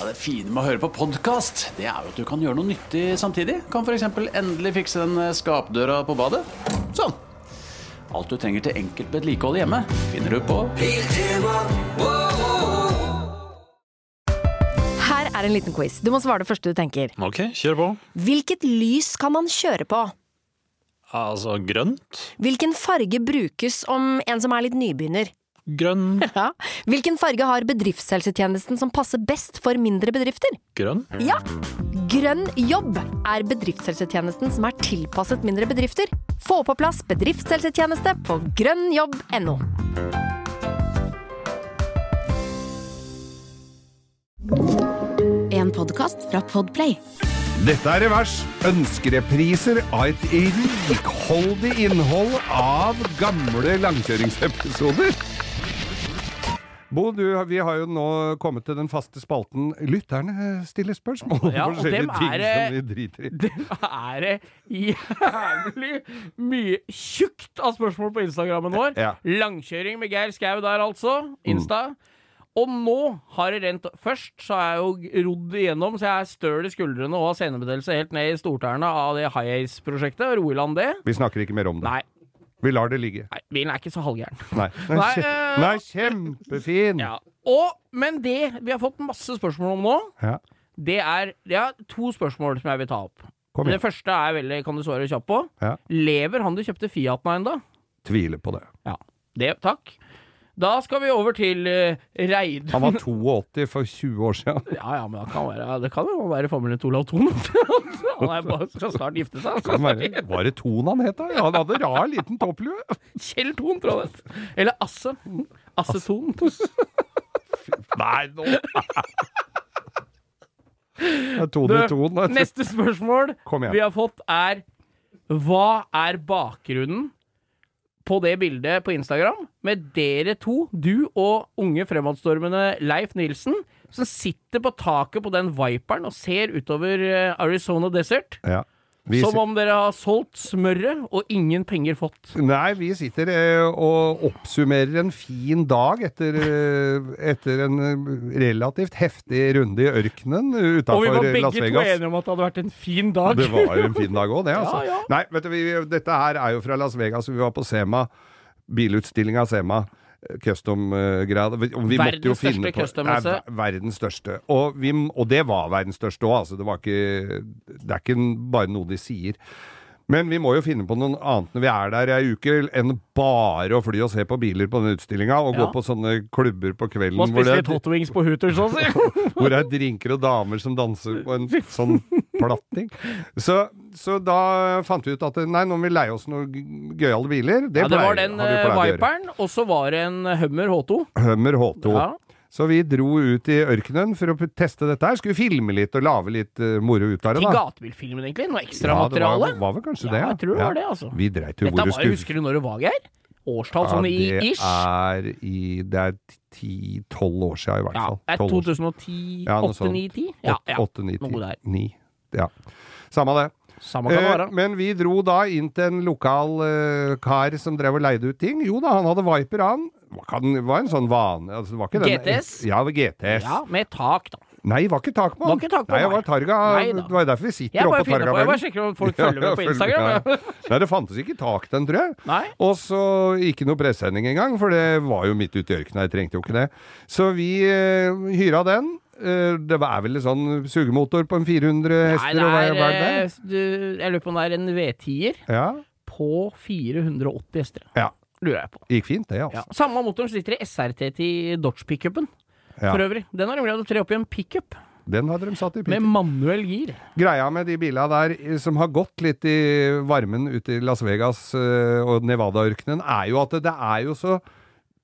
Ja, det fine med å høre på podkast, det er jo at du kan gjøre noe nyttig samtidig. Kan f.eks. endelig fikse den eh, skapdøra på badet. Sånn. Alt du trenger til enkelt vedlikehold hjemme, finner du på Her er en liten quiz. Du må svare det første du tenker. Ok, kjør på. Hvilket lys kan man kjøre på? Altså grønt. Hvilken farge brukes om en som er litt nybegynner? Grønn. Ja. Hvilken farge har bedriftshelsetjenesten som passer best for mindre bedrifter? Grønn. Ja! Grønn jobb er bedriftshelsetjenesten som er tilpasset mindre bedrifter. Få på plass bedriftshelsetjeneste på grønnjobb.no. En podkast fra Podplay. Dette er Revers. Ønskerepriser av et rikholdig innhold av gamle langkjøringsepisoder. Bo, du, vi har jo nå kommet til den faste spalten Lytterne stiller spørsmål om Ja, og dem forskjellige ting er det- som vi driter i. Det er det jævlig mye tjukt av spørsmål på Instagrammen vår. Ja. Mm. Langkjøring med Geir Skau der, altså. Insta. Og nå har det rent Først så har jeg jo rodd igjennom, så jeg er støl i skuldrene og har senebetennelse helt ned i stortærne av det High Ace-prosjektet. og Ro i land det. Vi snakker ikke mer om det. Nei, Vi lar det ligge. nei, bilen er ikke så halvgæren. Nei. Den er, Nei, kje- eh, den er kjempefin! Ja. Og, men det vi har fått masse spørsmål om nå, Ja. det er Jeg har to spørsmål som jeg vil ta opp. Kom Det igjen. første er veldig, kan du svare kjapt på. Ja. Lever han du kjøpte Fiaten av ennå? Tviler på det. Ja. Det, takk. Da skal vi over til uh, Reid... Han var 82 for 20 år siden. Ja, ja, men det kan, være, det kan jo være familien Olav Thon. Han er bare, skal snart gifte seg. altså. Kan være- Var det Ton han het, da? Ja, Han hadde rar liten topplue. Kjell Thon, tror jeg. det heter. Eller Asse. Asse Thon. Nei, nå Det er Tone Du, Ton. vet du. Neste spørsmål Kom igjen. vi har fått, er Hva er bakgrunnen på det bildet på Instagram med dere to, du og unge fremadstormende Leif Nilsen, som sitter på taket på den Viperen og ser utover eh, Arizona Desert? Ja. Vi Som si- om dere har solgt smøret og ingen penger fått. Nei, vi sitter eh, og oppsummerer en fin dag etter, eh, etter en eh, relativt heftig runde i ørkenen Og vi var utafor Las begge to Vegas. enige om at det hadde vært en fin dag. Det var en fin dag òg, det. Altså. Ja, ja. Nei, vet du, vi, dette her er jo fra Las Vegas. Vi var på Sema. Bilutstillinga Sema. eh, Custom-grad. Verdens største custom-messe. Verdens største. Og, vi, m- og det var verdens største òg, altså. Det, var ikke, det er ikke n- bare noe de sier. Men vi må jo finne på noe annet når vi er der ei uke, enn bare å fly og se på biler på den utstillinga, og gå Ja. på sånne klubber på kvelden Må hvor spise det litt hot wings på Hooters også, si. hvor det er drinker og damer som danser på en sånn platting. Så, så da fant vi ut at nei, nå må vi leie oss noen g- gøyale biler. Det, Ja, det pleier- var den har vi eh, pleid å gjøre. Viperen, og så var det en eh, Hummer H2. Hummer H2. Ja. Så vi dro ut i ørkenen for å p- teste dette her. Skulle filme litt og lage litt eh, moro ut av det, Til da. gatebilfilmen, egentlig. Ja, Noe det var, ekstramateriale. var vel kanskje Ja, det, ja. jeg tror det var det, altså. Vi dreit jo hvor Dette er det bare, skulle Husker du når du var her? Årstall sånn i det ish? er i Det er ti-tolv år siden, i hvert Ja, fall. det er 12 år siden. 2010? Ja, noe sånt. 8-9-10? Ja, ja. Åtte, ni, Noe der. ti, ni. Ja. Samme det. Samme kan det Eh, være. Men vi dro da inn til en lokal eh, kar som drev og leide ut ting. Jo da, han hadde Viper, han. Var ikke- Det var en sånn vane altså, det var ikke den- GTS? Ja, det var GTS. Ja, med tak, da. Nei, det var ikke tak på Var han. ikke tak på Nei, det meg. var Targa. Nei da. det var jo derfor vi sitter Jeg oppe bare på Targa. finner på, jeg bare sjekker om folk følger med på Instagram. ja. Nei, det fantes ikke tak den, tror jeg. Nei. Og så ikke noe pressending engang, for det var jo midt ute i ørkenen. Jeg trengte jo ikke det. Så vi eh, hyra den. Eh, det er vel en sånn sugemotor på en 400 Nei, hester? det og hva- er, hva er eh, det? du- jeg lurer på om det er en V10-er Ja. på 480 hester. ja. Lurer jeg på. Gikk fint, det, altså. Ja. Samme motoren som sitter i SRT10 Dodge-pickupen. Ja. For øvrig. Den har de greid å tre opp i en pickup Den hadde de satt i med piken. manuell gir. Greia med de bila der eh, som har gått litt i varmen ute i Las Vegas eh, og Nevada-ørkenen, er jo at det- det er jo så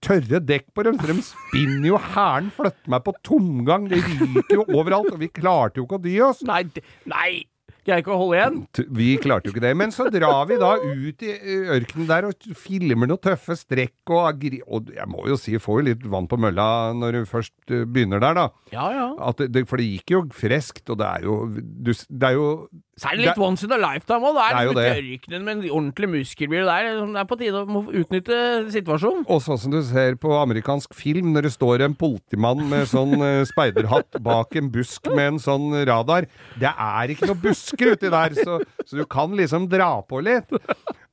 tørre dekk på dem, så de spinner jo hæren flytter meg på tomgang. Det ryker jo overalt, og vi klarte jo ikke å dy oss. Nei, d- nei! Greier ikke å holde igjen. T- Vi klarte jo ikke det. Men så drar vi da ut i eh, ørkenen der og filmer noen tøffe strekk og agri... Og jeg må jo si, får jo litt vann på mølla når du først eh, begynner der, da. Ja, ja. At det, det, for det gikk jo freskt, og det er jo, du, s- det er jo Så er det litt Det- once in a lifetime òg. Da Det er er jo det liksom ørkenen med en ordentlig muskelbil. Det er, liksom- det er på tide å må utnytte situasjonen. Og sånn som du ser på amerikansk film, når det står en politimann med sånn eh, speiderhatt bak en busk med en sånn radar. Det er ikke noe busker uti der, så, så du kan liksom dra på litt.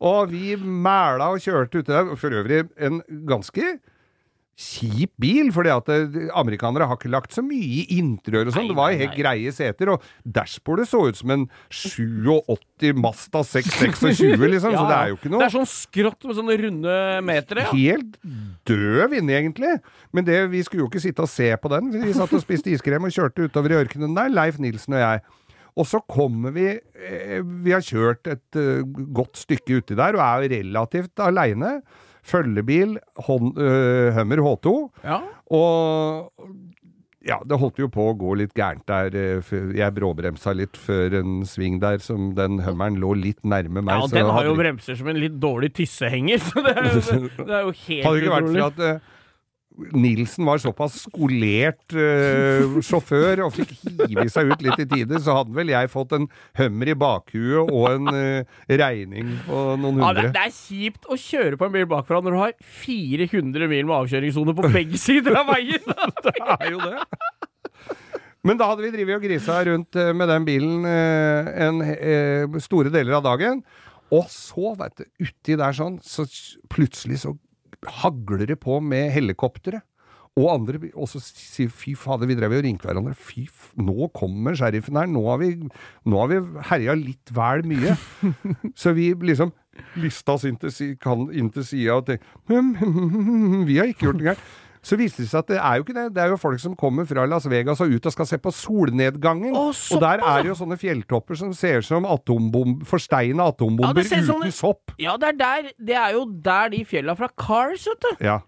Og vi mæla og kjørte uti der. For øvrig en ganske kjip bil, fordi at eh, amerikanere har ikke lagt så mye i interiør og sånn. Det var jo helt greie seter, og dashbordet så ut som en 87 Mazda 626, liksom. Så det er jo ikke noe Det er sånn skrått med sånne runde metere. Ja. Mm. Helt døv inne, egentlig. Men det, vi skulle jo ikke sitte og se på den. Vi satt og spiste iskrem og kjørte utover i ørkenen der, Leif Nilsen og jeg. Og så kommer vi eh, Vi har kjørt et eh, godt stykke uti der og er jo relativt aleine. Følgebil, hånd, eh, Hummer H2. Og ja, det holdt jo på å gå litt gærent der. eh, før- Jeg bråbremsa litt før en sving der som den hummeren lå litt nærme meg. Ja, og så den har hadde jo vi- bremser som en litt dårlig tyssehenger, så det er, jo- det er jo helt Hadde det ikke vært utrolig. for at eh, Nilsen var såpass skolert eh, sjåfør og fikk hive seg ut litt i tide, så hadde vel jeg fått en hummer i bakhuet og en eh, regning på noen Ja, det, hundre. det er kjipt å kjøre på en bil bakfra når du har 400 mil med avkjøringssone på begge sider av veien! Det er jo det. Men da hadde vi drevet og grisa rundt eh, med den bilen eh, en, eh, store deler av dagen. Og så, veit du, uti der sånn, så plutselig så hagler det på med helikoptre. Og andre bi- Og så sier fy fader, vi drev jo og ringte hverandre. Fy f... Nå kommer sheriffen her. Nå har vi, nå har vi herja litt vel mye. så vi liksom lista oss inn til, si- kan- inn til sida og tenkte Vi har ikke gjort noe gærent. Så viste det seg at det er jo ikke det. Det er jo folk som kommer fra Las Vegas og ut og skal se på solnedgangen. Å, og der såpass, er det jo sånne fjelltopper som ser ut som atombom, forsteina atombomber ser ut som uten det- sopp. Ja, det er, der, det er jo der de fjella fra Cars, vet du. Ja.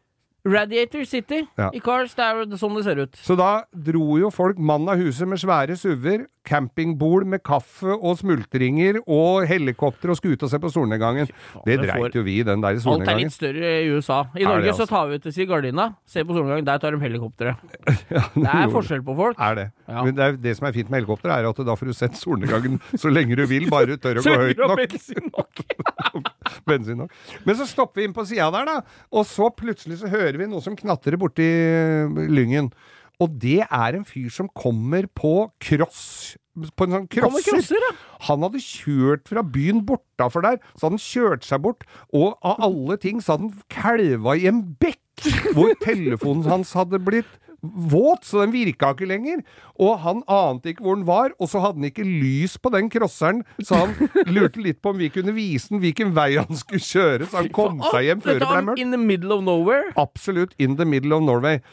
Radiator City Ja. i Cars. Det er jo sånn det ser ut. Så da dro jo folk mann av huset med svære suver, campingbol med kaffe og smultringer og helikopter og skulle ut og se på solnedgangen. Det det får- dreit jo vi i, den der Alt er solnedgangen. litt større i USA. I Er Norge det, altså? så tar vi ut til si gardina, ser på solnedgang, der tar de helikopteret. Det er forskjell på folk. Er det. Ja. Men det, er, det som er fint med helikopter, er at da får du sett solnedgangen så lenge du vil, bare du tør å Så gå høyt høyt nok. nok. bensin nok. Men så stopper vi inn på sida der, da. Og så plutselig så hører vi noe som knatrer borti eh, lyngen. Og det er en fyr som kommer på cross. På en sånn Kommer crosser. crosser, ja. Han hadde kjørt fra byen bortafor der, så hadde han kjørt seg bort. Og av alle ting så hadde han kalva i en bekk hvor telefonen hans hadde blitt våt, så den virka ikke lenger. Og han ante ikke hvor den var, og så hadde han ikke lys på den crosseren, så han lurte litt på om vi kunne vise den hvilken vei han skulle kjøre, så han kom seg hjem før det ble mørkt. In the middle of nowhere. Absolutt in the middle of Norway.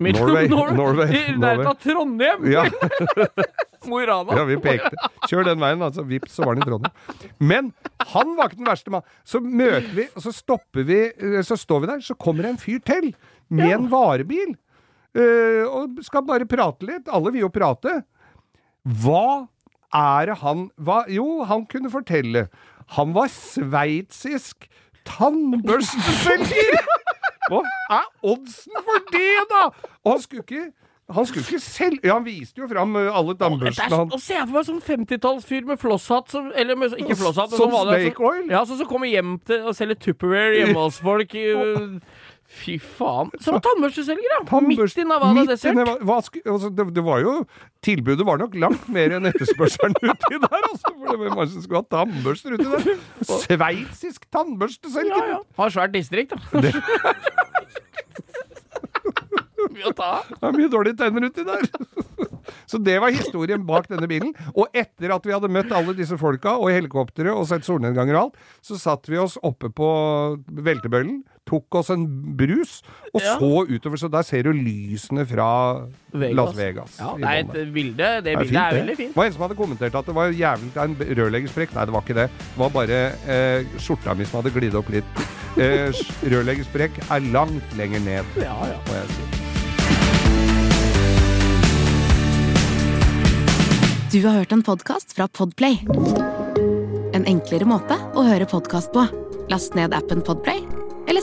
Middle Norway, of Nor- Norway, I nærheten Norway. av Trondheim! Ja. Mo i Rana. Ja, vi pekte. Kjør den veien, altså. Vips, så var den i Trondheim. Men han var ikke den verste mannen. Så møter vi, og så stopper vi, eh, så står vi der, så kommer det en fyr til med en varebil. eh, og skal bare prate litt. Alle vil jo prate. Hva er det han hva, Jo, han kunne fortelle. Han var sveitsisk tannbørsteselger! Hva er oddsen for det, da?! Og han skulle ikke han skulle ikke selv Ja, han viste jo fram eh, alle Dette er tannbørstene han så- Å se for meg sånn 50-tallsfyr med flosshatt som Eller med, ikke flosshatt, men Som sånn vanlig- snake oil? Ja, sånn som kommer hjem til og selger Tupperware hjemme hos folk. i- Fy faen. Som tannbørsteselger, ja! Midt i Navada midt i Desert. Neva- hva sk- altså, det, det var jo Tilbudet var nok langt mer enn etterspørselen uti der, altså! For det var Hvem var det som skulle ha tannbørster uti der? Sveitsisk tannbørsteselger! Ja, ja. Har svært distrikt, da. Mye å ta av. Det er mye dårlige tenner uti der. Så det var historien bak denne bilen. Og etter at vi hadde møtt alle disse folka og helikopteret og sett solnedganger og alt, så satt vi oss oppe på veltebøylen, tok oss en brus, og Ja. så utover. Så der ser du lysene fra Vegas. Las Vegas. Ja, i det er bånn der. et bilde. Det Det bildet er det. veldig fint. var en som hadde kommentert at det var jævlig det er en rørleggersprekk. Nei, det var ikke det. Det var bare eh, skjorta mi som hadde glidd opp litt. Eh, rørleggersprekk er langt lenger ned, Ja, ja. må jeg si. Du har hørt en podcast fra Podplay En enklere måte å høre podcast på Last ned appen Podplay Eller